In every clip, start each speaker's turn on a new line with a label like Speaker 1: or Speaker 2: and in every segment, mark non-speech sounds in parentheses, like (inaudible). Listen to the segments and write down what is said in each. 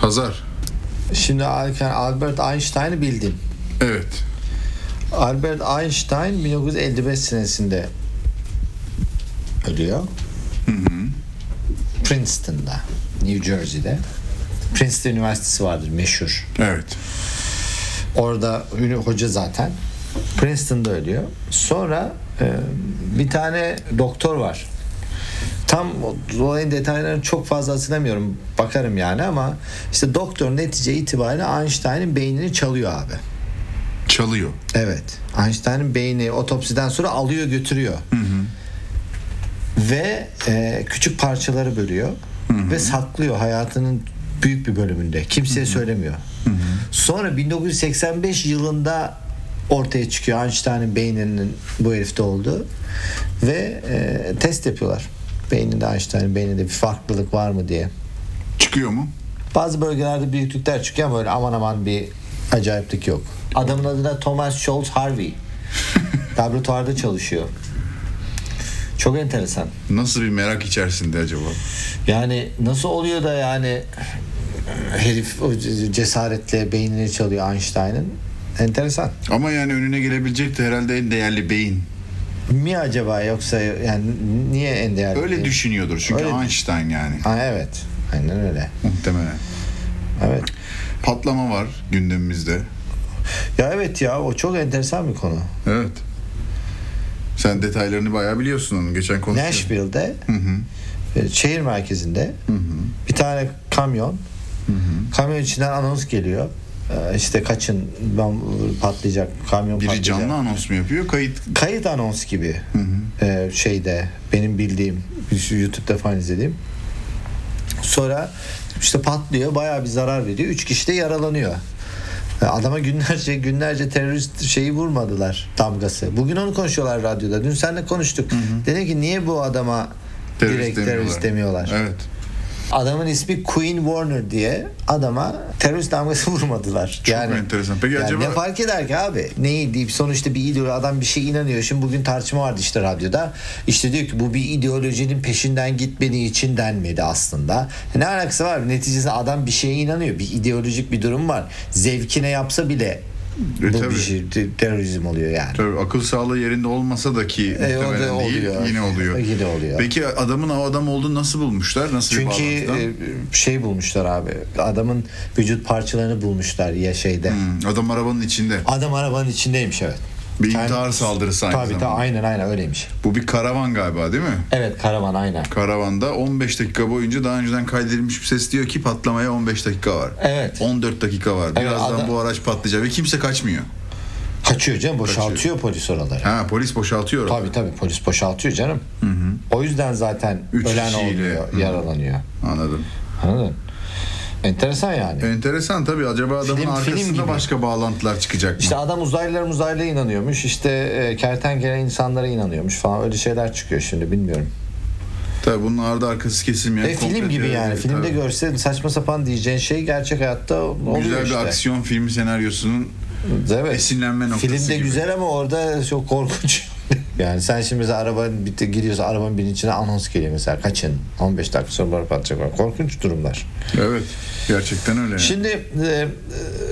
Speaker 1: Pazar.
Speaker 2: Şimdi yani Albert Einstein'ı bildim.
Speaker 1: Evet.
Speaker 2: Albert Einstein 1955 senesinde ölüyor. Princeton'da, New Jersey'de. Princeton Üniversitesi vardır meşhur.
Speaker 1: Evet.
Speaker 2: Orada ünlü hoca zaten. Princeton'da ölüyor. Sonra e, bir tane doktor var. Tam o- olayın detaylarını çok fazla hatırlamıyorum. Bakarım yani ama işte doktor netice itibariyle Einstein'ın beynini çalıyor abi.
Speaker 1: Çalıyor.
Speaker 2: Evet. Einstein'ın beyni otopsiden sonra alıyor götürüyor. Ve e, küçük parçaları bölüyor. Ve saklıyor hayatının büyük bir bölümünde. Kimseye söylemiyor. Sonra 1985 yılında ortaya çıkıyor Einstein'ın beyninin bu herifte olduğu. Ve e, test yapıyorlar. Beyninde Einstein'ın beyninde bir farklılık var mı diye.
Speaker 1: Çıkıyor mu?
Speaker 2: Bazı bölgelerde büyüklükler çıkıyor ama öyle aman aman bir acayiplik yok. Adamın adı da Thomas Scholz Harvey. Laboratuvarda çalışıyor. Çok enteresan.
Speaker 1: Nasıl bir merak içerisinde acaba?
Speaker 2: Yani nasıl oluyor da yani herif o cesaretle beynini çalıyor Einstein'ın. Enteresan.
Speaker 1: Ama yani önüne gelebilecek de herhalde en değerli beyin.
Speaker 2: Mi acaba yoksa yani niye en değerli?
Speaker 1: Öyle düşünüyordur çünkü
Speaker 2: Öyle
Speaker 1: Einstein yani
Speaker 2: Ha, evet. Aynen öyle.
Speaker 1: muhtemelen.
Speaker 2: Evet.
Speaker 1: Patlama var gündemimizde.
Speaker 2: Ya evet ya o çok enteresan bir konu.
Speaker 1: Evet. Sen detaylarını bayağı biliyorsun onun. Geçen konuştuk.
Speaker 2: Nashville'de e, şehir merkezinde bir tane kamyon kamyon içinden anons geliyor E, işte kaçın bom patlayacak kamyon
Speaker 1: Biri
Speaker 2: patlayacak
Speaker 1: canlı anons mu yapıyor? Kayıt
Speaker 2: kayıt anons gibi e, şeyde benim bildiğim şu YouTube'da falan izlediğim sonra işte patlıyor bayağı bir zarar veriyor üç kişi de yaralanıyor E, Adama günlerce günlerce terörist şeyi vurmadılar damgası. Bugün onu konuşuyorlar radyoda. Dün seninle konuştuk. Dedim ki niye bu adama
Speaker 1: terörist
Speaker 2: direkt
Speaker 1: demiyorlar.
Speaker 2: terörist demiyorlar.
Speaker 1: Evet.
Speaker 2: Adamın ismi Queen Warner diye adama terörist damgası (laughs) vurmadılar. Çok
Speaker 1: enteresan. Peki acaba-
Speaker 2: Ne fark eder ki abi? Neyi deyip sonuçta bir ideoloji adam bir şey inanıyor. Şimdi bugün tartışma vardı işte radyoda. İşte diyor ki bu bir ideolojinin peşinden gitmediği için denmedi aslında. Ne alakası var? Neticesinde adam bir şeye inanıyor. Bir ideolojik bir durum var. Zevkine yapsa bile
Speaker 1: E,
Speaker 2: bu
Speaker 1: tabii.
Speaker 2: bir şey te- terörizm oluyor yani.
Speaker 1: Tabii akıl sağlığı yerinde olmasa da ki
Speaker 2: E, o da
Speaker 1: muhtemelen değil,
Speaker 2: oluyor.
Speaker 1: yine oluyor.
Speaker 2: Yine oluyor.
Speaker 1: Peki adamın o adam olduğunu nasıl bulmuşlar? Nasıl bir
Speaker 2: Çünkü
Speaker 1: bağlantıdan?
Speaker 2: e, şey bulmuşlar abi. Adamın vücut parçalarını bulmuşlar ya şeyde.
Speaker 1: Hmm, adam arabanın içinde.
Speaker 2: Adam arabanın içindeymiş evet.
Speaker 1: Bir
Speaker 2: Kendi-
Speaker 1: intihar saldırısı aynı
Speaker 2: Tabii tabii
Speaker 1: zamanda.
Speaker 2: aynen aynen öyleymiş.
Speaker 1: Bu bir karavan galiba değil mi?
Speaker 2: Evet karavan aynen.
Speaker 1: Karavanda 15 dakika boyunca daha önceden kaydedilmiş bir ses diyor ki patlamaya 15 dakika var.
Speaker 2: Evet.
Speaker 1: 14 dakika var. Birazdan
Speaker 2: adam-
Speaker 1: bu araç patlayacak ve kimse kaçmıyor.
Speaker 2: Kaçıyor canım boşaltıyor polis oraları.
Speaker 1: Ha polis boşaltıyor.
Speaker 2: Tabii tabii polis boşaltıyor canım. O yüzden zaten
Speaker 1: Üç
Speaker 2: ölen
Speaker 1: kişiyle.
Speaker 2: oluyor,
Speaker 1: Hı.
Speaker 2: yaralanıyor.
Speaker 1: Anladım.
Speaker 2: Anladın? Enteresan yani.
Speaker 1: Enteresan tabii. Acaba adamın
Speaker 2: Film- film
Speaker 1: arkasında
Speaker 2: gibi.
Speaker 1: başka bağlantılar çıkacak mı?
Speaker 2: İşte adam uzaylılar uzaylıya inanıyormuş. İşte e, kertenkele insanlara inanıyormuş falan. Öyle şeyler çıkıyor şimdi bilmiyorum.
Speaker 1: Tabii bunun ardı arkası kesilmeyen.
Speaker 2: Ve film
Speaker 1: komple
Speaker 2: gibi
Speaker 1: teori-
Speaker 2: yani. Filmde
Speaker 1: tabii.
Speaker 2: görse saçma sapan diyeceğin şey gerçek hayatta oluyor
Speaker 1: Güzel
Speaker 2: işte.
Speaker 1: bir aksiyon filmi senaryosunun
Speaker 2: Evet.
Speaker 1: esinlenme noktası
Speaker 2: Filmde
Speaker 1: gibi.
Speaker 2: güzel ama orada çok korkunç. (laughs) yani sen şimdi mesela arabanın bir- giriyorsun arabanın birinin içine anons geliyor mesela kaçın 15 dakika sonra bunlar patlayacak falan. Korkunç durumlar.
Speaker 1: Evet. Gerçekten öyle. yani.
Speaker 2: Şimdi e,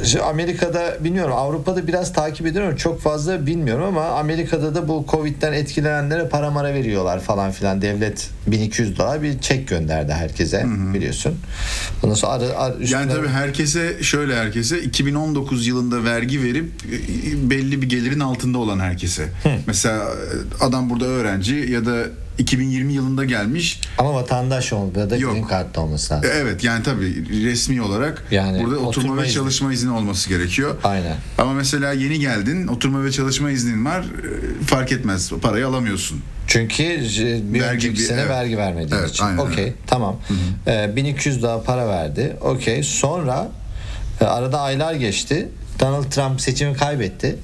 Speaker 2: e, şu Amerika'da bilmiyorum Avrupa'da biraz takip ediyorum çok fazla bilmiyorum ama Amerika'da da bu Covid'den etkilenenlere para mara veriyorlar falan filan devlet 1200 dolar bir çek gönderdi herkese biliyorsun. Ondan sonra ara, ara- üstüne-
Speaker 1: Yani tabii herkese şöyle herkese 2019 yılında vergi verip e, belli bir gelirin altında olan herkese. Mesela e, adam burada öğrenci ya da 2020 yılında gelmiş.
Speaker 2: ama vatandaş olmalı da
Speaker 1: Yok.
Speaker 2: green card olması
Speaker 1: E,
Speaker 2: lazım.
Speaker 1: Evet yani tabii resmi olarak
Speaker 2: Yani
Speaker 1: burada oturma,
Speaker 2: oturma
Speaker 1: ve
Speaker 2: izni.
Speaker 1: çalışma izni olması gerekiyor.
Speaker 2: Aynen.
Speaker 1: Ama mesela yeni geldin oturma ve çalışma iznin var e, fark etmez parayı alamıyorsun.
Speaker 2: Çünkü e, bir
Speaker 1: Vergi
Speaker 2: önceki
Speaker 1: bir-
Speaker 2: sene
Speaker 1: evet.
Speaker 2: vergi vermediğin
Speaker 1: Evet,
Speaker 2: için.
Speaker 1: aynen
Speaker 2: Okey
Speaker 1: öyle.
Speaker 2: tamam. Ee, 1200 daha para verdi. Okey sonra e, arada aylar geçti. Donald Trump seçimi kaybetti.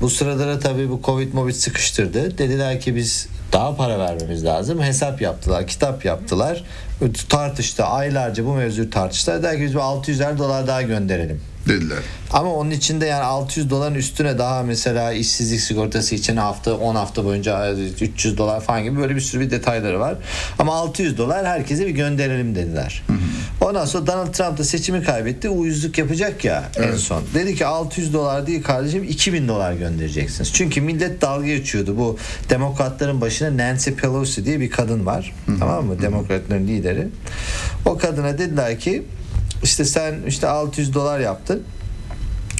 Speaker 2: Bu sırada da tabii bu Covid Movid sıkıştırdı. Dediler ki biz daha para vermemiz lazım. Hesap yaptılar, kitap yaptılar. Tartıştı aylarca bu mevzuyu tartıştılar. Der ki biz bir 600'er dolar daha gönderelim.
Speaker 1: Dediler.
Speaker 2: Ama onun içinde yani 600 doların üstüne daha mesela işsizlik sigortası için hafta 10 hafta boyunca e, 300 dolar falan gibi böyle bir sürü bir detayları var. Ama 600 dolar herkese bir gönderelim dediler. Ondan sonra Donald Trump da seçimi kaybetti. Uyuzluk yapacak ya en son. Dedi ki 600 dolar değil kardeşim 2000 dolar göndereceksiniz. Çünkü millet dalga geçiyordu. Bu demokratların başına Nancy Pelosi diye bir kadın var. Tamam mı? Demokratların lideri. O kadına dediler ki işte sen işte 600 dolar yaptın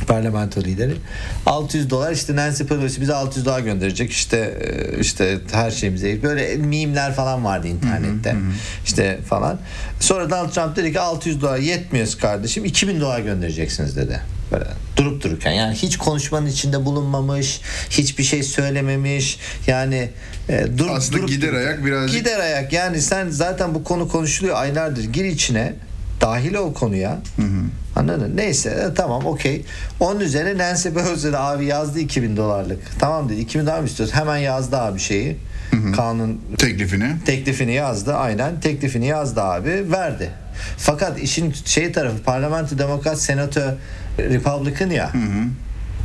Speaker 2: parlamento lideri. 600 dolar işte Nancy Pelosi bize 600 dolar gönderecek işte e, işte her şeyimize böyle mimler falan vardı internette işte falan. Sonra Donald Trump dedi ki 600 dolar yetmiyoruz kardeşim 2000 dolar göndereceksiniz dedi. Böyle durup dururken yani hiç konuşmanın içinde bulunmamış hiçbir şey söylememiş yani e, dur,
Speaker 1: Aslında
Speaker 2: durup
Speaker 1: gider
Speaker 2: dururken-
Speaker 1: ayak birazcık
Speaker 2: Gider ayak yani sen zaten bu konu konuşuluyor aylardır gir içine dahil ol konuya. Anladın? Neyse e, tamam okey. Onun üzerine Nancy Pelosi de abi yazdı 2000 dolarlık. Tamam dedi 2000 dolar mı istiyorsun? Hemen yazdı abi şeyi. Kanun
Speaker 1: teklifini.
Speaker 2: teklifini yazdı aynen teklifini yazdı abi verdi. Fakat işin şey tarafı parlamento demokrat senato Republican ya.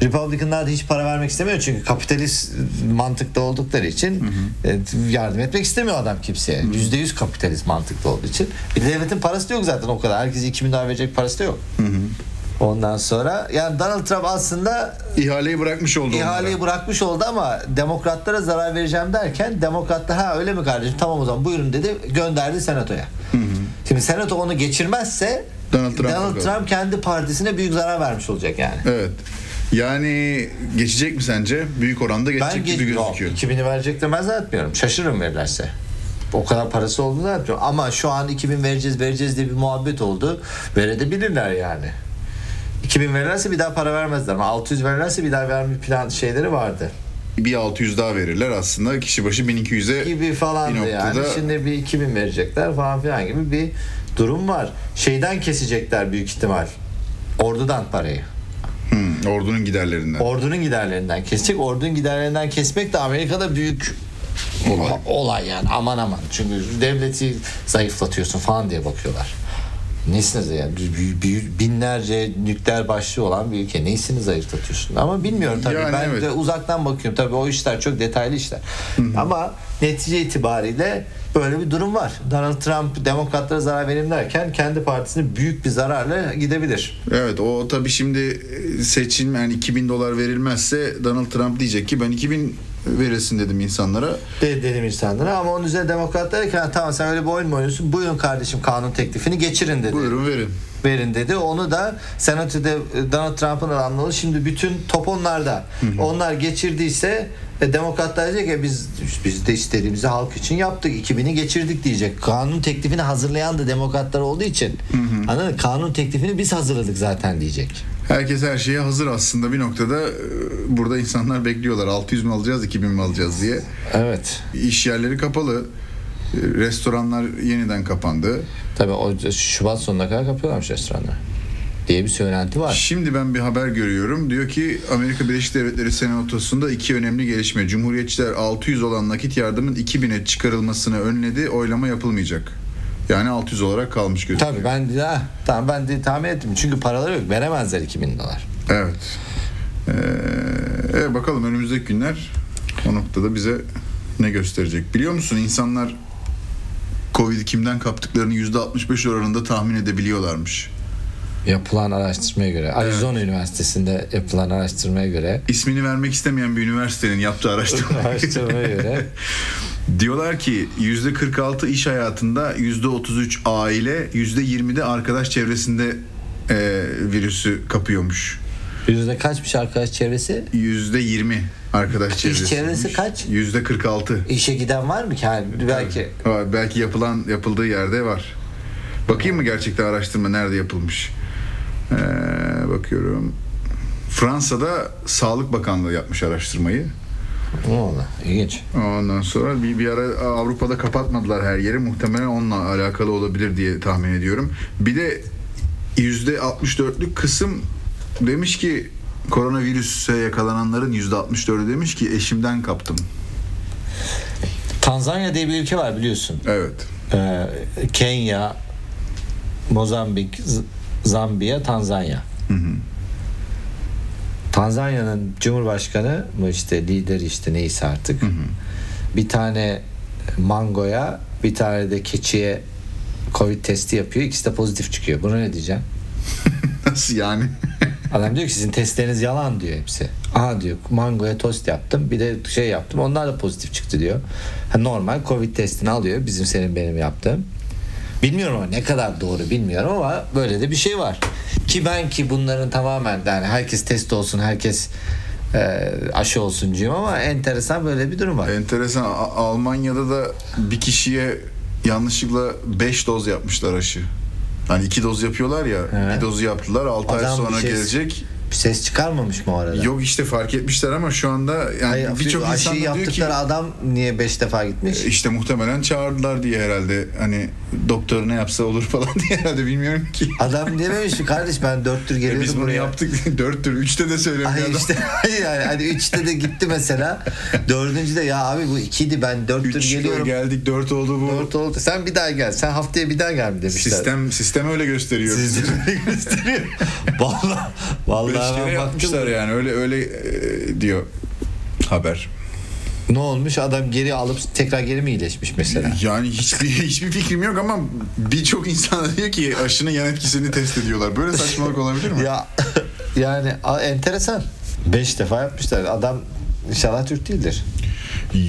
Speaker 2: Republicanlar da hiç para vermek istemiyor çünkü kapitalist mantıkta oldukları için e, yardım etmek istemiyor adam kimseye. Yüzde yüz kapitalist mantıkta olduğu için. Bir de devletin parası da yok zaten o kadar. Herkese 2000 daha verecek parası da yok. Ondan sonra yani Donald Trump aslında
Speaker 1: İhaleyi bırakmış oldu
Speaker 2: İhaleyi
Speaker 1: onlara.
Speaker 2: bırakmış oldu ama demokratlara zarar vereceğim derken demokratlar ha öyle mi kardeşim tamam o zaman buyurun dedi gönderdi senatoya. Şimdi senato onu geçirmezse
Speaker 1: Donald Trump'a kalır.
Speaker 2: Trump kendi partisine büyük zarar vermiş olacak yani.
Speaker 1: Evet. Yani geçecek mi sence? Büyük oranda geçecek
Speaker 2: Ben
Speaker 1: gibi
Speaker 2: ge- Yok,
Speaker 1: gözüküyor.
Speaker 2: 2000'i verecek de ben zannetmiyorum. Şaşırırım verirlerse. O kadar parası olduğunu zannetmiyorum. Ama şu an 2000 vereceğiz vereceğiz diye bir muhabbet oldu. Verebilirler yani. 2000 verirlerse bir daha para vermezler ama 600 verirlerse bir daha verme plan şeyleri vardı.
Speaker 1: Bir 600 daha verirler aslında. Kişi başı 1200'e
Speaker 2: gibi falan
Speaker 1: Ee, Bir
Speaker 2: yani.
Speaker 1: noktada-
Speaker 2: Şimdi bir 2000 verecekler falan filan gibi bir durum var. Şeyden kesecekler büyük ihtimal. Ordudan parayı.
Speaker 1: Hmm, ordunun giderlerinden.
Speaker 2: Ordunun giderlerinden kesecek. Ordunun giderlerinden kesmek de Amerika'da büyük
Speaker 1: Olay.
Speaker 2: olay, yani. Aman aman. Çünkü devleti zayıflatıyorsun falan diye bakıyorlar. Nesiniz yani Bi- bi- binlerce nükleer başlığı olan bir ülke nesini zayıflatıyorsun ama bilmiyorum tabii
Speaker 1: Yani
Speaker 2: ben
Speaker 1: evet.
Speaker 2: de uzaktan bakıyorum tabii o işler çok detaylı işler ama netice itibariyle böyle bir durum var Donald Trump demokratlara zarar vereyim derken kendi partisine büyük bir zararla gidebilir
Speaker 1: Evet o tabii şimdi e, seçim yani 2000 dolar verilmezse Donald Trump diyecek ki ben 2000 verilsin dedim insanlara.
Speaker 2: de, dedim insanlara ama onun üzerine demokratlar ki "Ha, tamam sen öyle bir oyun mu oynuyorsun buyurun kardeşim kanun teklifini geçirin dedi
Speaker 1: Buyurun verin.
Speaker 2: verin dedi. Onu da senatoda e, Donald Trump'ın anladı. Şimdi bütün top onlarda. Onlar geçirdiyse e, demokratlar diyecek ya biz biz de istediğimizi halk için yaptık. 2000'i geçirdik diyecek. Kanun teklifini hazırlayan da demokratlar olduğu için. Anladın mı? Kanun teklifini biz hazırladık zaten diyecek.
Speaker 1: Herkes her şeye hazır aslında bir noktada e, burada insanlar bekliyorlar 600 mi alacağız 2000 mi alacağız diye.
Speaker 2: Evet.
Speaker 1: İş yerleri kapalı. E, Restoranlar yeniden kapandı.
Speaker 2: Tabii o Şubat sonuna kadar kapıyorlarmış restoranları. Diye bir söylenti var.
Speaker 1: Şimdi ben bir haber görüyorum. Diyor ki Amerika Birleşik Devletleri Senatosu'nda iki önemli gelişme. Cumhuriyetçiler 600 olan nakit yardımın 2000'e çıkarılmasını önledi. Oylama yapılmayacak. Yani 600 olarak kalmış gözüküyor.
Speaker 2: Tabii ben de, ha, tamam ben de tahmin ettim. Çünkü paraları yok. Veremezler 2000 dolar.
Speaker 1: Evet. Ee, e, bakalım önümüzdeki günler o noktada bize ne gösterecek. Biliyor musun insanlar Covid'i kimden kaptıklarını %65 oranında tahmin edebiliyorlarmış.
Speaker 2: Yapılan araştırmaya göre Arizona Üniversitesi'nde yapılan araştırmaya göre
Speaker 1: İsmini vermek istemeyen bir üniversitenin yaptığı araştırma.
Speaker 2: araştırmaya göre
Speaker 1: Diyorlar ki %46 iş hayatında, %33 aile, %20'de arkadaş çevresinde e, virüsü kapıyormuş.
Speaker 2: yüzde kaçmış arkadaş çevresi?
Speaker 1: %20 arkadaş çevresi.
Speaker 2: çevresi kaç?
Speaker 1: %46.
Speaker 2: İşe giden var mı ki? Yani belki
Speaker 1: Var, belki yapılan yapıldığı yerde var. Bakayım mı gerçekten araştırma nerede yapılmış? Ee, bakıyorum. Fransa'da Sağlık Bakanlığı yapmış araştırmayı.
Speaker 2: ne oldu? İlginç.
Speaker 1: Ondan sonra bir, bir ara e, Avrupa'da kapatmadılar her yeri. Muhtemelen onunla alakalı olabilir diye tahmin ediyorum. Bir de %64'lük kısım demiş ki koronavirüse yakalananların %64'ü demiş ki eşimden kaptım.
Speaker 2: Tanzanya diye bir ülke var biliyorsun.
Speaker 1: Evet.
Speaker 2: Ee, Kenya, Mozambik, Z- Zambiya, Tanzanya. Tanzanya'nın Cumhurbaşkanı mı işte lideri işte neyse artık. Bir tane mangoya, bir tane de keçiye Covid testi yapıyor. İkisi de pozitif çıkıyor. Buna ne diyeceğim?
Speaker 1: (laughs) Nasıl yani?
Speaker 2: Adam diyor ki sizin testleriniz yalan diyor hepsi. Aha diyor mangoya tost yaptım bir de şey yaptım onlar da pozitif çıktı diyor. Ha, normal covid testini alıyor bizim senin benim yaptığım. Bilmiyorum ama ne kadar doğru bilmiyorum ama böyle de bir şey var. Ki ben ki bunların tamamen yani herkes test olsun herkes e, aşı olsun diyeyim ama enteresan böyle bir durum
Speaker 1: (laughs)
Speaker 2: var.
Speaker 1: Enteresan. A- Almanya'da da bir kişiye yanlışlıkla 5 doz yapmışlar aşı. Hani iki doz yapıyorlar ya.
Speaker 2: Evet.
Speaker 1: Bir dozu yaptılar. 6 ay
Speaker 2: Adam bir
Speaker 1: sonra
Speaker 2: şey-
Speaker 1: gelecek.
Speaker 2: Bir ses çıkarmamış mı o arada?
Speaker 1: Yok işte fark etmişler ama şu anda
Speaker 2: Hayır,
Speaker 1: yani birçok insan
Speaker 2: aşıyı
Speaker 1: da diyor
Speaker 2: yaptıkları
Speaker 1: ki
Speaker 2: adam niye 5 defa gitmiş?
Speaker 1: Ee, işte muhtemelen çağırdılar diye herhalde hani doktor ne yapsa olur falan diye herhalde bilmiyorum ki.
Speaker 2: Adam dememiş mi kardeş ben dört tür geliyordum
Speaker 1: E, Biz bunu
Speaker 2: buraya.
Speaker 1: yaptık (laughs) dört tür üçte de söylemiyor
Speaker 2: Ay
Speaker 1: adam.
Speaker 2: işte (laughs) yani hani üçte de gitti mesela. Dördüncü de ya abi bu ikiydi ben dört tür
Speaker 1: Üç
Speaker 2: geliyorum.
Speaker 1: geldik dört oldu bu.
Speaker 2: Dört oldu. Sen bir daha gel. Sen haftaya bir daha gel mi demişler.
Speaker 1: Sistem sistem öyle gösteriyor.
Speaker 2: Sistemi (laughs) gösteriyor. Vallahi
Speaker 1: Beş
Speaker 2: vallahi ben
Speaker 1: kere
Speaker 2: baktım.
Speaker 1: yapmışlar yani öyle öyle e, diyor haber.
Speaker 2: Ne olmuş? Adam geri alıp tekrar geri mi iyileşmiş mesela?
Speaker 1: Yani hiçbir (laughs) hiçbir fikrim yok ama birçok insan da diyor ki aşının yan etkisini test ediyorlar. Böyle saçmalık olabilir mi?
Speaker 2: (laughs) ya yani a- enteresan. Beş defa yapmışlar. Adam inşallah Türk değildir.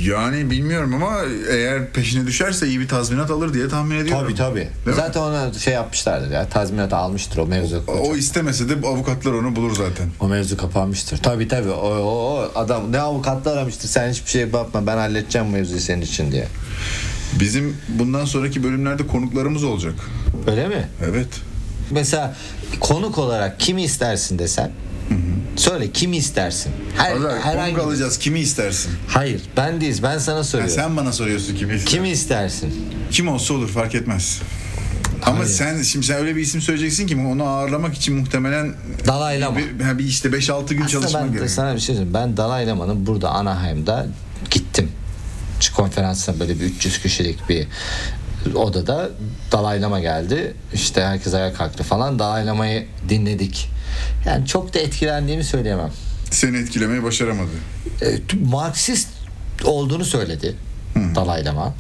Speaker 1: Yani bilmiyorum ama eğer peşine düşerse iyi bir tazminat alır diye tahmin ediyorum.
Speaker 2: Tabii tabii.
Speaker 1: mi?
Speaker 2: Zaten ona şey yapmışlardır ya. Tazminat almıştır o mevzu.
Speaker 1: O istemese de bu avukatlar onu bulur zaten.
Speaker 2: O mevzu kapanmıştır. Tabii tabii. O, o, o adam ne avukatla aramıştır. Sen hiçbir şey yapma. Ben halledeceğim mevzuyu senin için diye.
Speaker 1: Bizim bundan sonraki bölümlerde konuklarımız olacak.
Speaker 2: Öyle mi?
Speaker 1: Evet.
Speaker 2: Mesela konuk olarak kimi istersin desen. Söyle kimi istersin? Her,
Speaker 1: Arkadaşlar,
Speaker 2: herhangi.
Speaker 1: konuk alacağız. Kimi istersin?
Speaker 2: Hayır, ben değiliz. Ben sana
Speaker 1: Ha,
Speaker 2: soruyorum.
Speaker 1: sen bana soruyorsun kimi istersin.
Speaker 2: Kimi istersin?
Speaker 1: Kim olsa olur fark etmez. Ama
Speaker 2: Hayır.
Speaker 1: sen şimdi sen öyle bir isim söyleyeceksin ki onu ağırlamak için muhtemelen
Speaker 2: Dalai Lama.
Speaker 1: bir, ha, bir işte 5-6 gün
Speaker 2: Aslında
Speaker 1: çalışman
Speaker 2: ben de
Speaker 1: gerekiyor.
Speaker 2: sana bir şey söyleyeyim. Ben Dalai Lama'nın burada Anaheim'da gittim. Şu konferansına böyle bir 300 kişilik bir odada Dalai Lama geldi. İşte herkes ayağa kalktı falan. Dalai Lama'yı dinledik. Yani çok da etkilendiğimi söyleyemem.
Speaker 1: Seni etkilemeyi başaramadı.
Speaker 2: E, t- Marksist olduğunu söyledi Dalai Lama.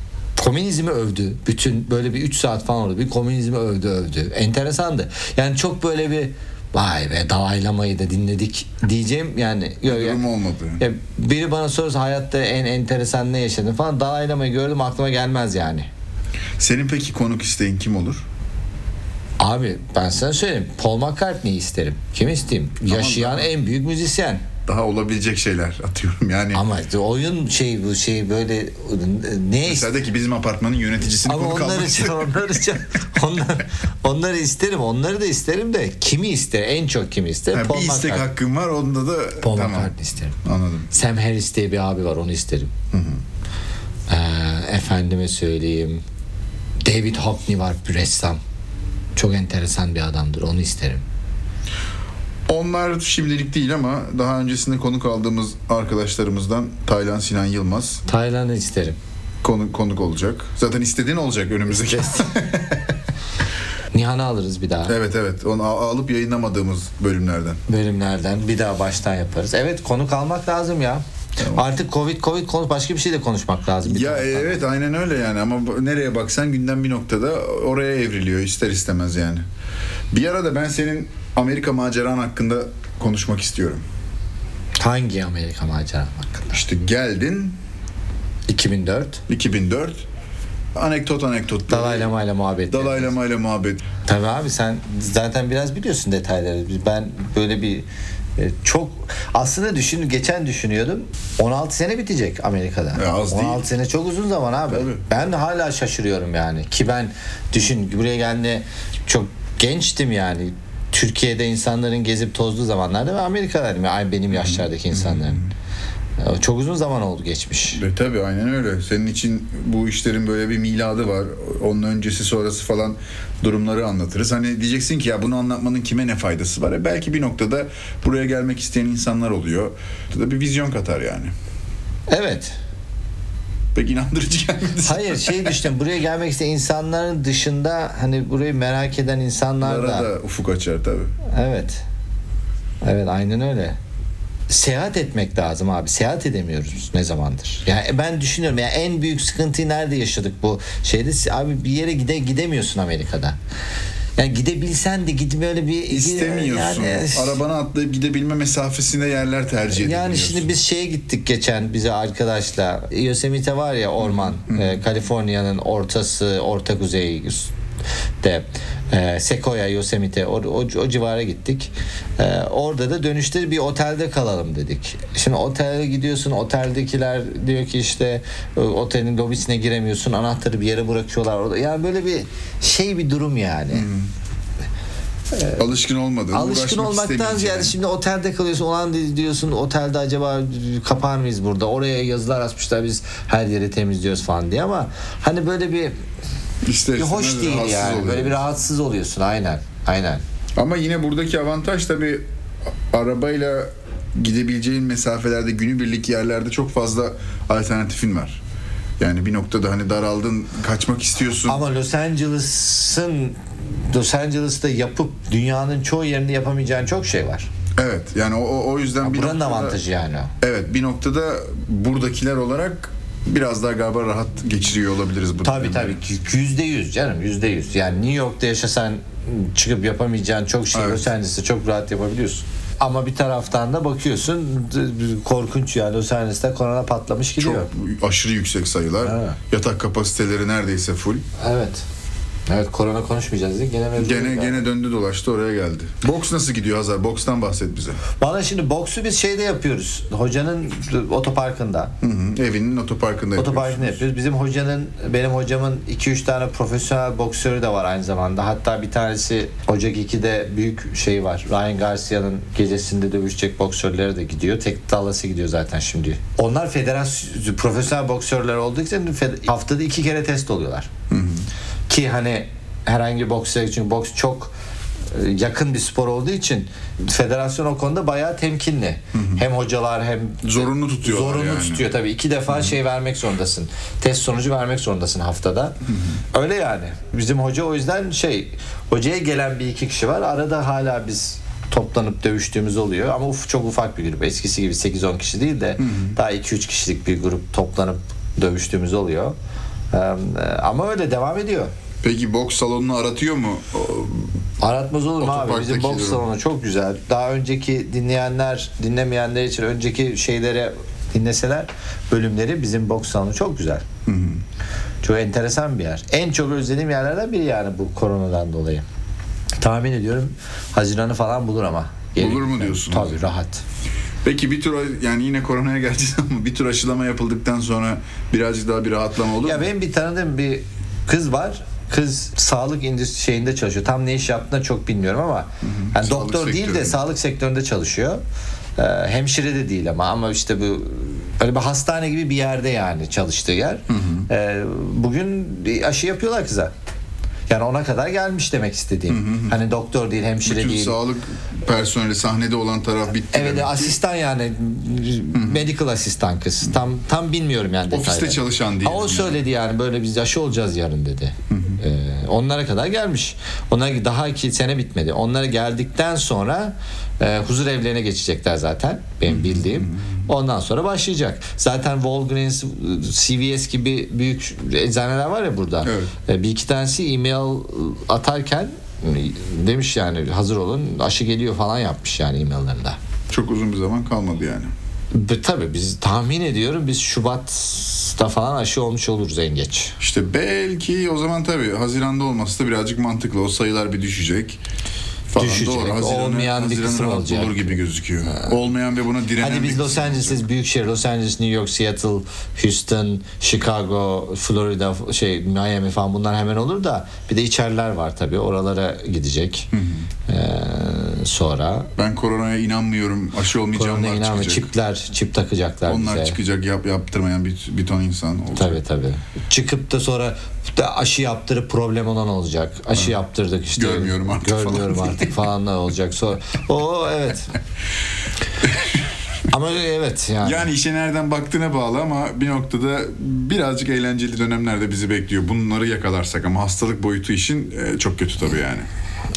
Speaker 2: Komünizmi övdü. Bütün böyle bir 3 saat falan oldu. Bir komünizmi övdü övdü. Enteresandı. Yani çok böyle bir vay be Dalai Lama'yı da dinledik diyeceğim yani. Yok, ya-
Speaker 1: Durum olmadı.
Speaker 2: ya biri bana sorarsa hayatta en enteresan ne yaşadın falan Dalai Lama'yı gördüm aklıma gelmez yani.
Speaker 1: Senin peki konuk isteğin kim olur?
Speaker 2: Abi ben sana söyleyeyim Paul McCartney'i isterim. Kim isteyeyim? Yaşayan
Speaker 1: tamam.
Speaker 2: en büyük müzisyen.
Speaker 1: Daha olabilecek şeyler atıyorum yani.
Speaker 2: Ama oyun şey bu şey böyle ne
Speaker 1: Mesela de ki bizim apartmanın yöneticisini
Speaker 2: Ama
Speaker 1: konuk
Speaker 2: onlar (laughs)
Speaker 1: almak
Speaker 2: için,
Speaker 1: istedim.
Speaker 2: onlar için, onlar, onları isterim, onları da isterim de kimi ister, en çok kimi ister?
Speaker 1: Ha,
Speaker 2: Paul
Speaker 1: bir istek
Speaker 2: McCartney.
Speaker 1: hakkım var onda da
Speaker 2: Paul
Speaker 1: tamam.
Speaker 2: McCartney isterim.
Speaker 1: Anladım.
Speaker 2: Sam Harris diye bir abi var, onu isterim. Ee, efendime söyleyeyim, David Hockney var, bir ressam. Çok enteresan bir adamdır, onu isterim.
Speaker 1: Onlar şimdilik değil ama daha öncesinde konuk aldığımız arkadaşlarımızdan Taylan Sinan Yılmaz
Speaker 2: Tayland'ı isterim.
Speaker 1: konuk, konuk olacak. Zaten istediğin olacak önümüzdeki.
Speaker 2: Nihan'ı alırız bir daha.
Speaker 1: (laughs) Evet evet. Onu al- alıp yayınlamadığımız bölümlerden.
Speaker 2: bölümlerden bir daha baştan yaparız. Evet konu kalmak lazım ya. Artık Covid Covid konu başka bir şey de konuşmak lazım. bir
Speaker 1: Ya e-
Speaker 2: taraftan.
Speaker 1: evet aynen öyle yani ama bu- nereye baksan günden bir noktada oraya evriliyor ister istemez yani. Bir ara da ben senin Amerika maceran hakkında konuşmak istiyorum.
Speaker 2: Hangi Amerika maceram hakkında?
Speaker 1: İşte geldin
Speaker 2: 2004
Speaker 1: 2004 anekdot anekdot.
Speaker 2: Dalai Lama ile muhabbet.
Speaker 1: Dalai
Speaker 2: yapıyoruz.
Speaker 1: Lama ile muhabbet.
Speaker 2: Tabii abi sen zaten biraz biliyorsun detayları. Ben böyle bir e, çok aslında düşün geçen düşünüyordum. 16 sene bitecek Amerika'da.
Speaker 1: E, az değil.
Speaker 2: 16 sene çok uzun zaman abi.
Speaker 1: Tabii.
Speaker 2: Ben hala şaşırıyorum yani. Ki ben düşün buraya geldiğinde çok gençtim yani. Türkiye'de insanların gezip tozduğu zamanlarda ve Amerika'daydım. Yani benim yaşlardaki insanların.
Speaker 1: Hmm.
Speaker 2: E, Çok uzun zaman oldu geçmiş.
Speaker 1: E, tabii aynen öyle. Senin için bu işlerin böyle bir miladı var. Onun öncesi sonrası falan durumları anlatırız. Hani diyeceksin ki ya bunu anlatmanın kime ne faydası var? E, belki bir noktada buraya gelmek isteyen insanlar oluyor. Bu da bir vizyon katar yani.
Speaker 2: Evet.
Speaker 1: Pek inandırıcı gelmedi. (laughs)
Speaker 2: Hayır şey düşünün buraya gelmek isteyen insanların dışında hani burayı merak eden insanlar
Speaker 1: Onlara
Speaker 2: da
Speaker 1: da ufuk açar tabii.
Speaker 2: Evet. Evet aynen öyle. Seyahat etmek lazım abi. Seyahat edemiyoruz ne zamandır. Yani ben düşünüyorum ya en büyük sıkıntıyı nerede yaşadık bu şeyde? Abi bir yere gide gidemiyorsun Amerika'da. Yani gidebilsen de git böyle bir
Speaker 1: İstemiyorsun.
Speaker 2: Yani-
Speaker 1: Arabana atlayıp gidebilme mesafesinde yerler tercih ediliyor.
Speaker 2: yani şimdi biz şeye gittik geçen bize arkadaşla. Yosemite var ya orman. e, Kaliforniya'nın ortası, orta kuzeyi de e, Sequoia, Yosemite o, o, o civara gittik. E, orada da dönüşte bir otelde kalalım dedik. Şimdi otele gidiyorsun oteldekiler diyor ki işte e, otelin lobisine giremiyorsun anahtarı bir yere bırakıyorlar orada. Yani böyle bir şey bir durum yani.
Speaker 1: alışkın olmadığın,
Speaker 2: Alışkın
Speaker 1: uğraşmak
Speaker 2: olmaktan
Speaker 1: istemeyeceğin.
Speaker 2: ziyade şimdi otelde kalıyorsun. Olan diyorsun otelde acaba kapar mıyız burada? Oraya yazılar asmışlar biz her yeri temizliyoruz falan diye ama hani böyle bir,
Speaker 1: İster
Speaker 2: bir hoş
Speaker 1: istemez
Speaker 2: değil
Speaker 1: rahatsız
Speaker 2: yani.
Speaker 1: oluyorum.
Speaker 2: Böyle bir rahatsız oluyorsun aynen. Aynen.
Speaker 1: Ama yine buradaki avantaj tabii arabayla gidebileceğin mesafelerde günübirlik yerlerde çok fazla alternatifin var. Yani bir noktada hani daraldın, kaçmak istiyorsun.
Speaker 2: Ama Los Angeles'ın Los Angeles'ta yapıp dünyanın çoğu yerinde yapamayacağın çok şey var.
Speaker 1: Evet. Yani o- o o yüzden bir
Speaker 2: Buranın
Speaker 1: noktada-
Speaker 2: avantajı yani. o.
Speaker 1: Evet, bir noktada buradakiler olarak biraz daha galiba rahat geçiriyor olabiliriz bu.
Speaker 2: Tabii
Speaker 1: dönemi.
Speaker 2: tabii ki yüzde yüz canım yüzde yüz. Yani New York'ta yaşasan çıkıp yapamayacağın çok şey
Speaker 1: Evet.
Speaker 2: Los Angeles'te çok rahat yapabiliyorsun. Ama bir taraftan da bakıyorsun d- d- korkunç yani Los Angeles'te korona patlamış gidiyor.
Speaker 1: Çok aşırı yüksek sayılar.
Speaker 2: Ha.
Speaker 1: Yatak kapasiteleri neredeyse full.
Speaker 2: Evet. Evet korona konuşmayacağız diye gene mevzu
Speaker 1: Gene
Speaker 2: yok abi.
Speaker 1: gene döndü dolaştı oraya geldi. Boks nasıl gidiyor Hazar? Bokstan bahset bize.
Speaker 2: Bana şimdi boksu biz şeyde yapıyoruz. Hocanın otoparkında.
Speaker 1: Hı hı. Evinin otoparkında
Speaker 2: Otoparkında
Speaker 1: yapıyorsun.
Speaker 2: yapıyoruz. Bizim hocanın, benim hocamın 2-3 tane profesyonel boksörü de var aynı zamanda. Hatta bir tanesi Ocak 2'de büyük şey var. Ryan Garcia'nın gecesinde dövüşecek boksörlere de gidiyor. Tek dallası gidiyor zaten şimdi. Onlar federasyon, profesyonel boksörler olduğu için fed- haftada iki kere test oluyorlar. Ki hani herhangi bir boksör için boks çok e, yakın bir spor olduğu için federasyon o konuda bayağı temkinli. Hem hocalar hem
Speaker 1: Zorunlu tutuyorlar
Speaker 2: Zorunlu
Speaker 1: yani.
Speaker 2: tutuyor tabii. İki defa şey vermek zorundasın. Test sonucu vermek zorundasın haftada. Öyle yani. Bizim hoca o yüzden şey hocaya gelen bir iki kişi var. Arada hala biz toplanıp dövüştüğümüz oluyor ama uf, çok ufak bir grup. Eskisi gibi 8-10 kişi değil de daha 2-3 kişilik bir grup toplanıp dövüştüğümüz oluyor. Ee, Ama öyle devam ediyor.
Speaker 1: Peki boks salonunu aratıyor mu? O-
Speaker 2: Aratmaz olur mu abi?
Speaker 1: Otoparktaki
Speaker 2: Bizim boks
Speaker 1: durum.
Speaker 2: salonu çok güzel. Daha önceki dinleyenler, dinlemeyenler için önceki şeylere dinleseler bölümleri bizim boks salonu çok güzel. Çok enteresan bir yer. En çok özlediğim yerlerden biri yani bu koronadan dolayı. Tahmin ediyorum Haziran'ı falan bulur ama.
Speaker 1: Bulur mu diyorsun?
Speaker 2: Tabii rahat.
Speaker 1: Peki bir tur yani yine koronaya (laughs) geleceğiz ama bir tur aşılama yapıldıktan sonra birazcık daha bir rahatlama olur
Speaker 2: Ya
Speaker 1: mu?
Speaker 2: benim bir tanıdığım bir kız var. Kız sağlık endüstri şeyinde çalışıyor. Tam ne iş yaptığını çok bilmiyorum ama yani
Speaker 1: Sağlık
Speaker 2: doktor değil de
Speaker 1: sektöründe.
Speaker 2: sağlık sektöründe çalışıyor. Ee, hemşire de değil ama ama işte bu öyle bir hastane gibi bir yerde yani çalıştığı yer. Ee, bugün bir aşı yapıyorlar kıza. Yani ona kadar gelmiş demek istediğim. Hani doktor değil, hemşire
Speaker 1: Bütün
Speaker 2: değil.
Speaker 1: sağlık personeli sahnede olan taraf bitti.
Speaker 2: Evet
Speaker 1: demek ki.
Speaker 2: asistan yani medical asistan kız. Tam tam bilmiyorum yani
Speaker 1: Ofiste
Speaker 2: detayları.
Speaker 1: çalışan
Speaker 2: Ha,
Speaker 1: diyelim.
Speaker 2: o
Speaker 1: yani.
Speaker 2: söyledi yani böyle biz yaşı olacağız yarın dedi. Ee, onlara kadar gelmiş. Onlara daha iki sene bitmedi. Onlara geldikten sonra e, huzur evlerine geçecekler zaten benim bildiğim. Ondan sonra başlayacak. Zaten Walgreens, CVS gibi büyük eczaneler var ya burada.
Speaker 1: Evet.
Speaker 2: E, Bir iki tanesi e-mail atarken e, demiş yani hazır olun aşı geliyor falan yapmış yani e-maillerinde.
Speaker 1: Çok uzun bir zaman kalmadı yani.
Speaker 2: B- Tabii biz tahmin ediyorum biz Şubat'ta falan aşı olmuş oluruz en geç.
Speaker 1: İşte belki o zaman tabii Haziran'da olması da birazcık mantıklı. O sayılar bir düşecek. Falan
Speaker 2: Düşecek.
Speaker 1: Doğru. Haziran'ı-
Speaker 2: Olmayan bir
Speaker 1: Haziran'ı
Speaker 2: kısım
Speaker 1: rahat
Speaker 2: olacak.
Speaker 1: Olur gibi gözüküyor. Olmayan ve buna direnen
Speaker 2: Hadi
Speaker 1: bir
Speaker 2: biz Los
Speaker 1: kısım
Speaker 2: Angeles'ız, büyük şehir. Los Angeles, New York, Seattle, Houston, Chicago, Florida, şey Miami falan bunlar hemen olur da bir de içeriler var tabii. Oralara gidecek. Ee, sonra
Speaker 1: Ben koronaya inanmıyorum. Aşı
Speaker 2: korona
Speaker 1: olmayacağımlar
Speaker 2: inan ve
Speaker 1: çıkacak.
Speaker 2: çipler, çip takacaklar
Speaker 1: Onlar
Speaker 2: bize.
Speaker 1: çıkacak yap, yaptırmayan bir, bir ton insan olacak.
Speaker 2: Tabii tabii. Çıkıp da sonra da aşı yaptırıp problem olan olacak. Aşı yaptırdık işte.
Speaker 1: Görmüyorum artık falan (laughs)
Speaker 2: Görmüyorum
Speaker 1: diye.
Speaker 2: artık falan da olacak. Sonra o
Speaker 1: (laughs)
Speaker 2: evet. Ama evet yani.
Speaker 1: Yani işe nereden baktığına bağlı ama bir noktada birazcık eğlenceli dönemler de bizi bekliyor. Bunları yakalarsak ama hastalık boyutu işin e, çok kötü tabii yani.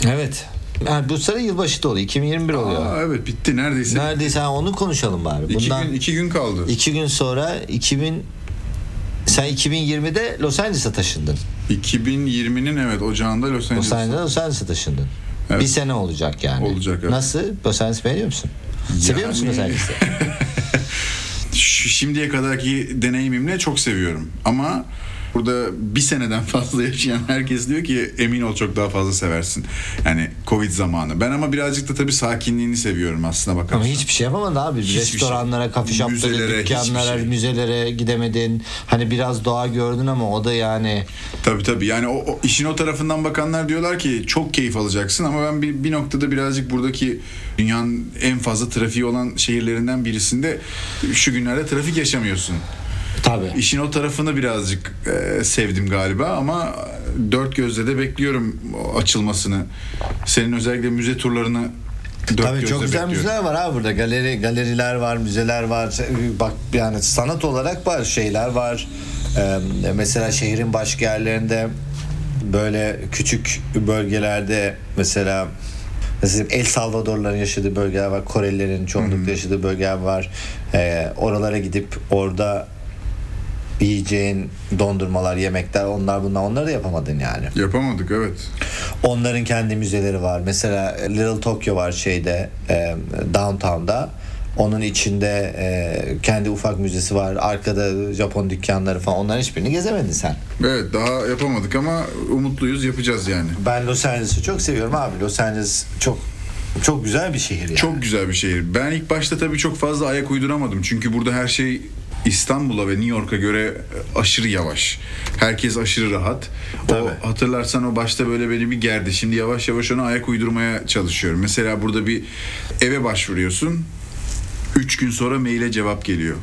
Speaker 2: Evet. Yani bu sene yılbaşı da oluyor. 2021 oluyor.
Speaker 1: Aa, evet bitti neredeyse.
Speaker 2: Neredeyse ha, onu konuşalım bari.
Speaker 1: İki
Speaker 2: Bundan
Speaker 1: gün, iki gün kaldı.
Speaker 2: iki gün sonra 2000 sen 2020'de Los Angeles'a taşındın.
Speaker 1: 2020'nin evet ocağında Los
Speaker 2: Los
Speaker 1: Angeles'ta.
Speaker 2: Angeles'a Los Angeles'a taşındın.
Speaker 1: Evet.
Speaker 2: Bir sene olacak yani.
Speaker 1: Olacak, evet.
Speaker 2: Nasıl? Los Angeles'i beğeniyor musun? Seviyor musun Los
Speaker 1: Yani- (laughs)
Speaker 2: Angeles'i?
Speaker 1: Ş- Şimdiye kadarki deneyimimle çok seviyorum. Ama burada bir seneden fazla yaşayan herkes diyor ki emin ol çok daha fazla seversin. Yani Covid zamanı. Ben ama birazcık da tabii sakinliğini seviyorum aslında bakarsan.
Speaker 2: Ama hiçbir şey yapamadın abi.
Speaker 1: Hiçbir
Speaker 2: Restoranlara,
Speaker 1: şey.
Speaker 2: kafe şaplara,
Speaker 1: Müzelere,
Speaker 2: dükkanlara,
Speaker 1: hiçbir şey.
Speaker 2: müzelere gidemedin. Hani biraz doğa gördün ama o da yani
Speaker 1: Tabii tabii yani o, o işin o tarafından bakanlar diyorlar ki çok keyif alacaksın ama ben bir, bir noktada birazcık buradaki dünyanın en fazla trafiği olan şehirlerinden birisinde şu günlerde trafik yaşamıyorsun.
Speaker 2: tabii.
Speaker 1: İşin o tarafını birazcık e, sevdim galiba ama dört gözle de bekliyorum o açılmasını. Senin özellikle müze turlarını dört
Speaker 2: Tabii
Speaker 1: gözle
Speaker 2: çok güzel
Speaker 1: bekliyorum.
Speaker 2: müzeler var abi burada. Galeri galeriler var, müzeler var. Bak yani sanat olarak var, şeyler var. Ee, mesela şehrin başka yerlerinde böyle küçük bölgelerde mesela mesela El Salvadorların yaşadığı bölgeler var, Korelilerin çoğunlukla yaşadığı bölgeler var. Ee, oralara gidip orada yiyeceğin dondurmalar, yemekler onlar bunlar onları da yapamadın yani.
Speaker 1: Yapamadık evet.
Speaker 2: Onların kendi müzeleri var. Mesela Little Tokyo var şeyde e, downtown'da. Onun içinde e, kendi ufak müzesi var. Arkada Japon dükkanları falan. Onların hiçbirini gezemedin sen.
Speaker 1: Evet daha yapamadık ama umutluyuz yapacağız yani.
Speaker 2: Ben Los Angeles'ı çok seviyorum abi. Los Angeles çok çok güzel bir şehir yani.
Speaker 1: Çok güzel bir şehir. Ben ilk başta tabii çok fazla ayak uyduramadım. Çünkü burada her şey İstanbul'a ve New York'a göre aşırı yavaş. Herkes aşırı rahat.
Speaker 2: Tabii.
Speaker 1: O hatırlarsan o başta böyle beni bir gerdi. Şimdi yavaş yavaş ona ayak uydurmaya çalışıyorum. Mesela burada bir eve başvuruyorsun. 3 gün sonra maile cevap geliyor.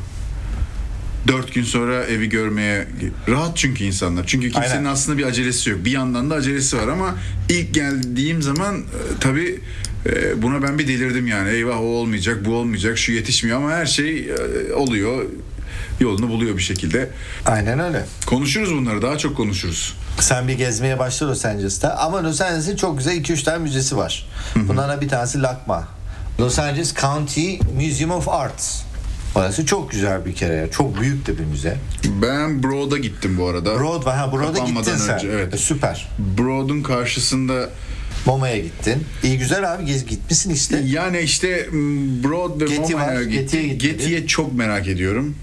Speaker 1: 4 gün sonra evi görmeye rahat çünkü insanlar. Çünkü kimsenin
Speaker 2: Aynen.
Speaker 1: aslında bir acelesi yok. Bir yandan da acelesi var ama ilk geldiğim zaman e, tabii e, buna ben bir delirdim yani. Eyvah o olmayacak, bu olmayacak, şu yetişmiyor ama her şey e, oluyor. Yolunu buluyor bir şekilde.
Speaker 2: Aynen öyle.
Speaker 1: Konuşuruz bunları, daha çok konuşuruz.
Speaker 2: Sen bir gezmeye başla Los Angeles'ta. Ama Los Angeles'in çok güzel 2-3 tane müzesi var. Bunlardan bir tanesi LACMA. Los Angeles County Museum of Arts. Orası çok güzel bir kere. ya. Çok büyük de bir müze.
Speaker 1: Ben Broad'a gittim bu arada.
Speaker 2: Broad var. Ha Broad'a
Speaker 1: Kapanmadan
Speaker 2: gittin sen.
Speaker 1: önce, evet.
Speaker 2: E, Süper.
Speaker 1: Broad'un karşısında
Speaker 2: MoMA'ya gittin. İyi güzel abi gez gitmişsin işte.
Speaker 1: yani işte m, Broad ve
Speaker 2: Getty var,
Speaker 1: Moma'ya
Speaker 2: Getty'ye
Speaker 1: gittim.
Speaker 2: gitmedin.
Speaker 1: Getty'ye çok merak ediyorum.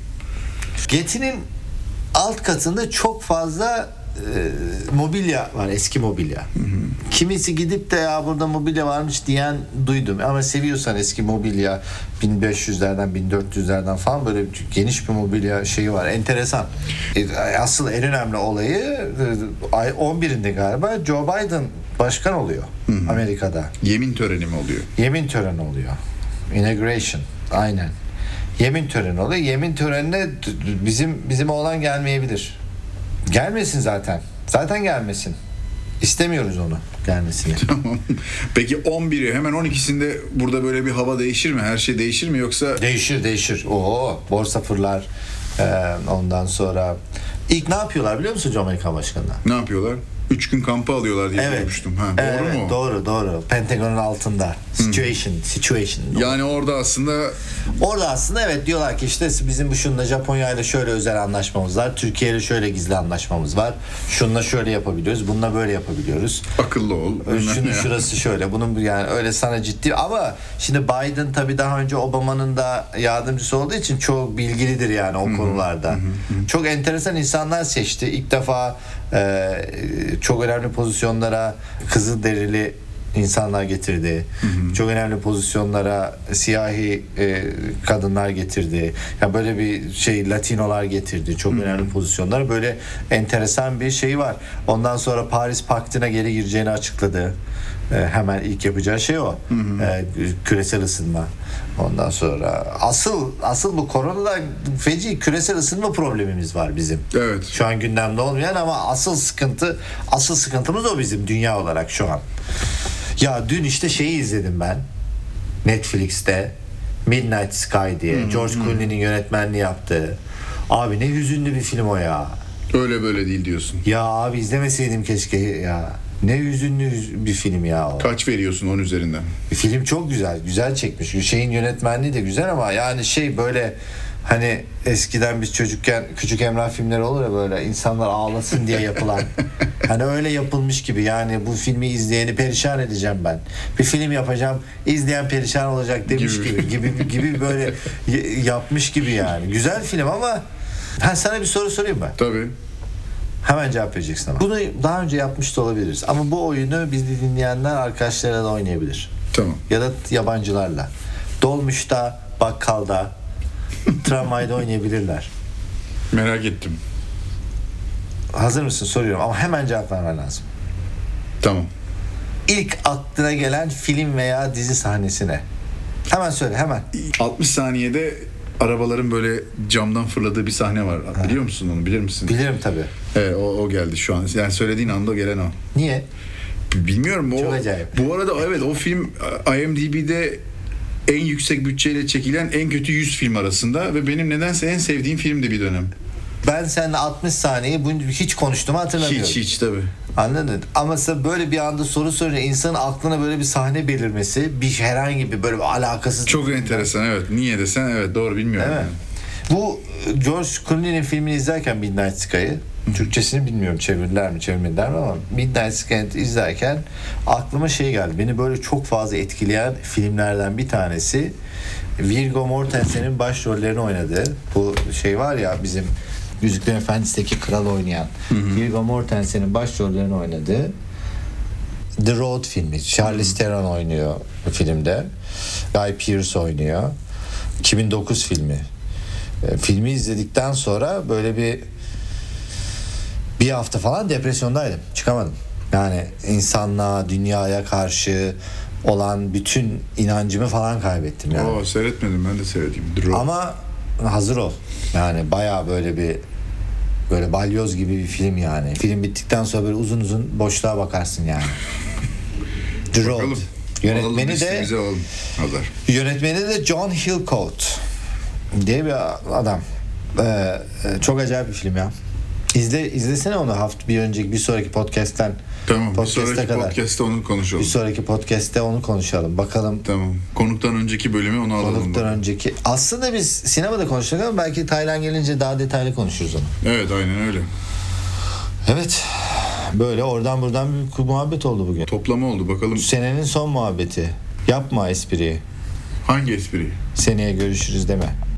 Speaker 2: Getty'nin alt katında çok fazla e, mobilya var. Eski mobilya. Kimisi gidip de ya burada mobilya varmış diyen duydum. Ama seviyorsan eski mobilya 1500'lerden 1400'lerden falan böyle bir geniş bir mobilya şeyi var. Enteresan. E, Asıl en önemli olayı e, ay 11'inde galiba Joe Biden başkan oluyor Amerika'da.
Speaker 1: Yemin töreni mi oluyor? (laughs)
Speaker 2: Yemin töreni oluyor. Inauguration. Aynen. Yemin töreni oluyor. Yemin törenine d- d- bizim bizim oğlan gelmeyebilir. Gelmesin zaten. Zaten gelmesin. İstemiyoruz onu gelmesini.
Speaker 1: Tamam. Peki 11'i hemen 12'sinde burada böyle bir hava değişir mi? Her şey değişir mi yoksa
Speaker 2: Değişir değişir. Oo borsa fırlar. Ee, ondan sonra ilk ne yapıyorlar biliyor musun Amerika Başkanı?
Speaker 1: ne yapıyorlar? 3 gün kampa alıyorlar diye görmüştüm. Ha, doğru
Speaker 2: Evet,
Speaker 1: mu?
Speaker 2: Doğru doğru. Pentagon'un altında. Situation, situation.
Speaker 1: Yani orada aslında
Speaker 2: Orada aslında evet diyorlar ki işte bizim bu şunla Japonya ile şöyle özel anlaşmamız var. Türkiye ile şöyle gizli anlaşmamız var. Şunla şöyle yapabiliyoruz. Bununla böyle yapabiliyoruz.
Speaker 1: akıllı ol. bilmem
Speaker 2: Şunun
Speaker 1: ne.
Speaker 2: şurası şöyle. Bunun bu- yani öyle sana ciddi ama şimdi Biden tabii daha önce Obama'nın da yardımcısı olduğu için çok bilgilidir yani o konularda. Çok enteresan insanlar seçti. İlk defa e, çok önemli pozisyonlara kızıl derili insanlar getirdi. Çok önemli pozisyonlara siyahi e, kadınlar getirdi. Ya böyle bir şey Latinolar getirdi. Çok önemli pozisyonlara böyle enteresan bir şey var. Ondan sonra Paris Paktı'na geri gireceğini açıkladı. E, hemen ilk yapacağı şey o. E, küresel ısınma. Ondan sonra asıl asıl bu koronada feci küresel ısınma problemimiz var bizim.
Speaker 1: Evet.
Speaker 2: Şu an gündemde olmayan ama asıl sıkıntı asıl sıkıntımız o bizim dünya olarak şu an. Ya dün işte şeyi izledim ben. Netflix'te Midnight Sky diye George Clooney'nin yönetmenliği yaptığı. Abi ne hüzünlü bir film o ya.
Speaker 1: Öyle böyle değil diyorsun.
Speaker 2: Ya abi izlemeseydim keşke ya. Ne hüzünlü hüz- bir film ya o.
Speaker 1: Kaç veriyorsun 10 üzerinden?
Speaker 2: Film çok güzel. Güzel çekmiş. Şeyin yönetmenliği de güzel ama yani şey böyle hani eskiden biz çocukken küçük Emrah filmleri olur ya böyle insanlar ağlasın diye yapılan. hani öyle yapılmış gibi yani bu filmi izleyeni perişan edeceğim ben. Bir film yapacağım izleyen perişan olacak demiş
Speaker 1: Gibi.
Speaker 2: gibi gibi gibi, böyle y- yapmış gibi yani. Güzel film ama ben sana bir soru sorayım mı?
Speaker 1: Tabii.
Speaker 2: Hemen cevap vereceksin ama. Bunu daha önce yapmış da olabiliriz. Ama bu oyunu bizi dinleyenler arkadaşlarıyla da oynayabilir
Speaker 1: Tamam.
Speaker 2: ya da yabancılarla. Dolmuşta,
Speaker 1: (laughs)
Speaker 2: bakkalda, tramvayda oynayabilirler.
Speaker 1: Merak ettim.
Speaker 2: Hazır mısın soruyorum ama hemen cevap vermen lazım.
Speaker 1: Tamam.
Speaker 2: İlk aklına gelen film veya dizi sahnesine. Hemen söyle hemen.
Speaker 1: 60 saniyede arabaların böyle camdan fırladığı bir sahne var. Biliyor musun onu? Bilir misin?
Speaker 2: Bilirim tabii.
Speaker 1: Evet, o, o geldi şu an. Yani söylediğin anda gelen o.
Speaker 2: Niye?
Speaker 1: Bilmiyorum o.
Speaker 2: Çok acayip.
Speaker 1: Bu arada evet o film e, IMDb'de en yüksek bütçeyle çekilen en kötü 100 film arasında ve benim nedense en sevdiğim filmdi bir dönem.
Speaker 2: Ben seninle 60 saniye bunu hiç konuştuğumu hatırlamıyorum.
Speaker 1: Hiç hiç tabii.
Speaker 2: Anladın? Ama sen böyle bir anda soru sorunca insanın aklına böyle bir sahne belirmesi, bir herhangi bir böyle bir alakasız
Speaker 1: Çok enteresan evet. Niye desen evet doğru bilmiyorum.
Speaker 2: Değil mi?
Speaker 1: yani.
Speaker 2: Bu e, George Clooney'nin filmini izlerken Midnight Sky'ı Türkçesini bilmiyorum çevirdiler mi çevirmediler mi ama Midnight Sky'ı izlerken aklıma şey geldi. Beni böyle çok fazla etkileyen filmlerden bir tanesi Viggo Mortensen'in başrollerini oynadığı bu şey var ya bizim Yüzüklerin Efendisi'ndeki kral oynayan Viggo Mortensen'in başrollerini oynadığı The Road filmi. Charlize Theron oynuyor bu filmde. Guy Pearce oynuyor. 2009 filmi. E, filmi izledikten sonra böyle bir bir hafta falan depresyondaydım. Çıkamadım. Yani insanlığa, dünyaya karşı olan bütün inancımı falan kaybettim yani.
Speaker 1: Oo, seyretmedim ben de seyredeyim. Dur, o.
Speaker 2: Ama hazır ol. Yani baya böyle bir böyle balyoz gibi bir film yani. Film bittikten sonra böyle uzun uzun boşluğa bakarsın
Speaker 1: (laughs)
Speaker 2: yani. The Road.
Speaker 1: Bakalım. Alalım
Speaker 2: Yönetmeni de
Speaker 1: listemize alalım. Hazar.
Speaker 2: yönetmeni de John Hillcoat diye bir adam. Ee, çok acayip bir film ya. İzle izlesene onu hafta bir önceki bir sonraki podcast'ten
Speaker 1: Tamam. Bir
Speaker 2: Podcast'e
Speaker 1: sonraki
Speaker 2: kadar.
Speaker 1: podcast'te onu konuşalım.
Speaker 2: bir sonraki podcast'te onu konuşalım. Bakalım
Speaker 1: Tamam. Konuktan önceki bölümü onu alalım.
Speaker 2: Konuktan önceki. Aslında biz sinemada konuştuk ama belki Taylan gelince daha detaylı konuşuruz onu.
Speaker 1: Evet aynen öyle.
Speaker 2: Evet. Böyle oradan buradan bir muhabbet oldu bugün.
Speaker 1: Toplama oldu bakalım
Speaker 2: Senenin son muhabbeti. Yapma espriyi.
Speaker 1: hangi espriyi?
Speaker 2: Seneye görüşürüz deme.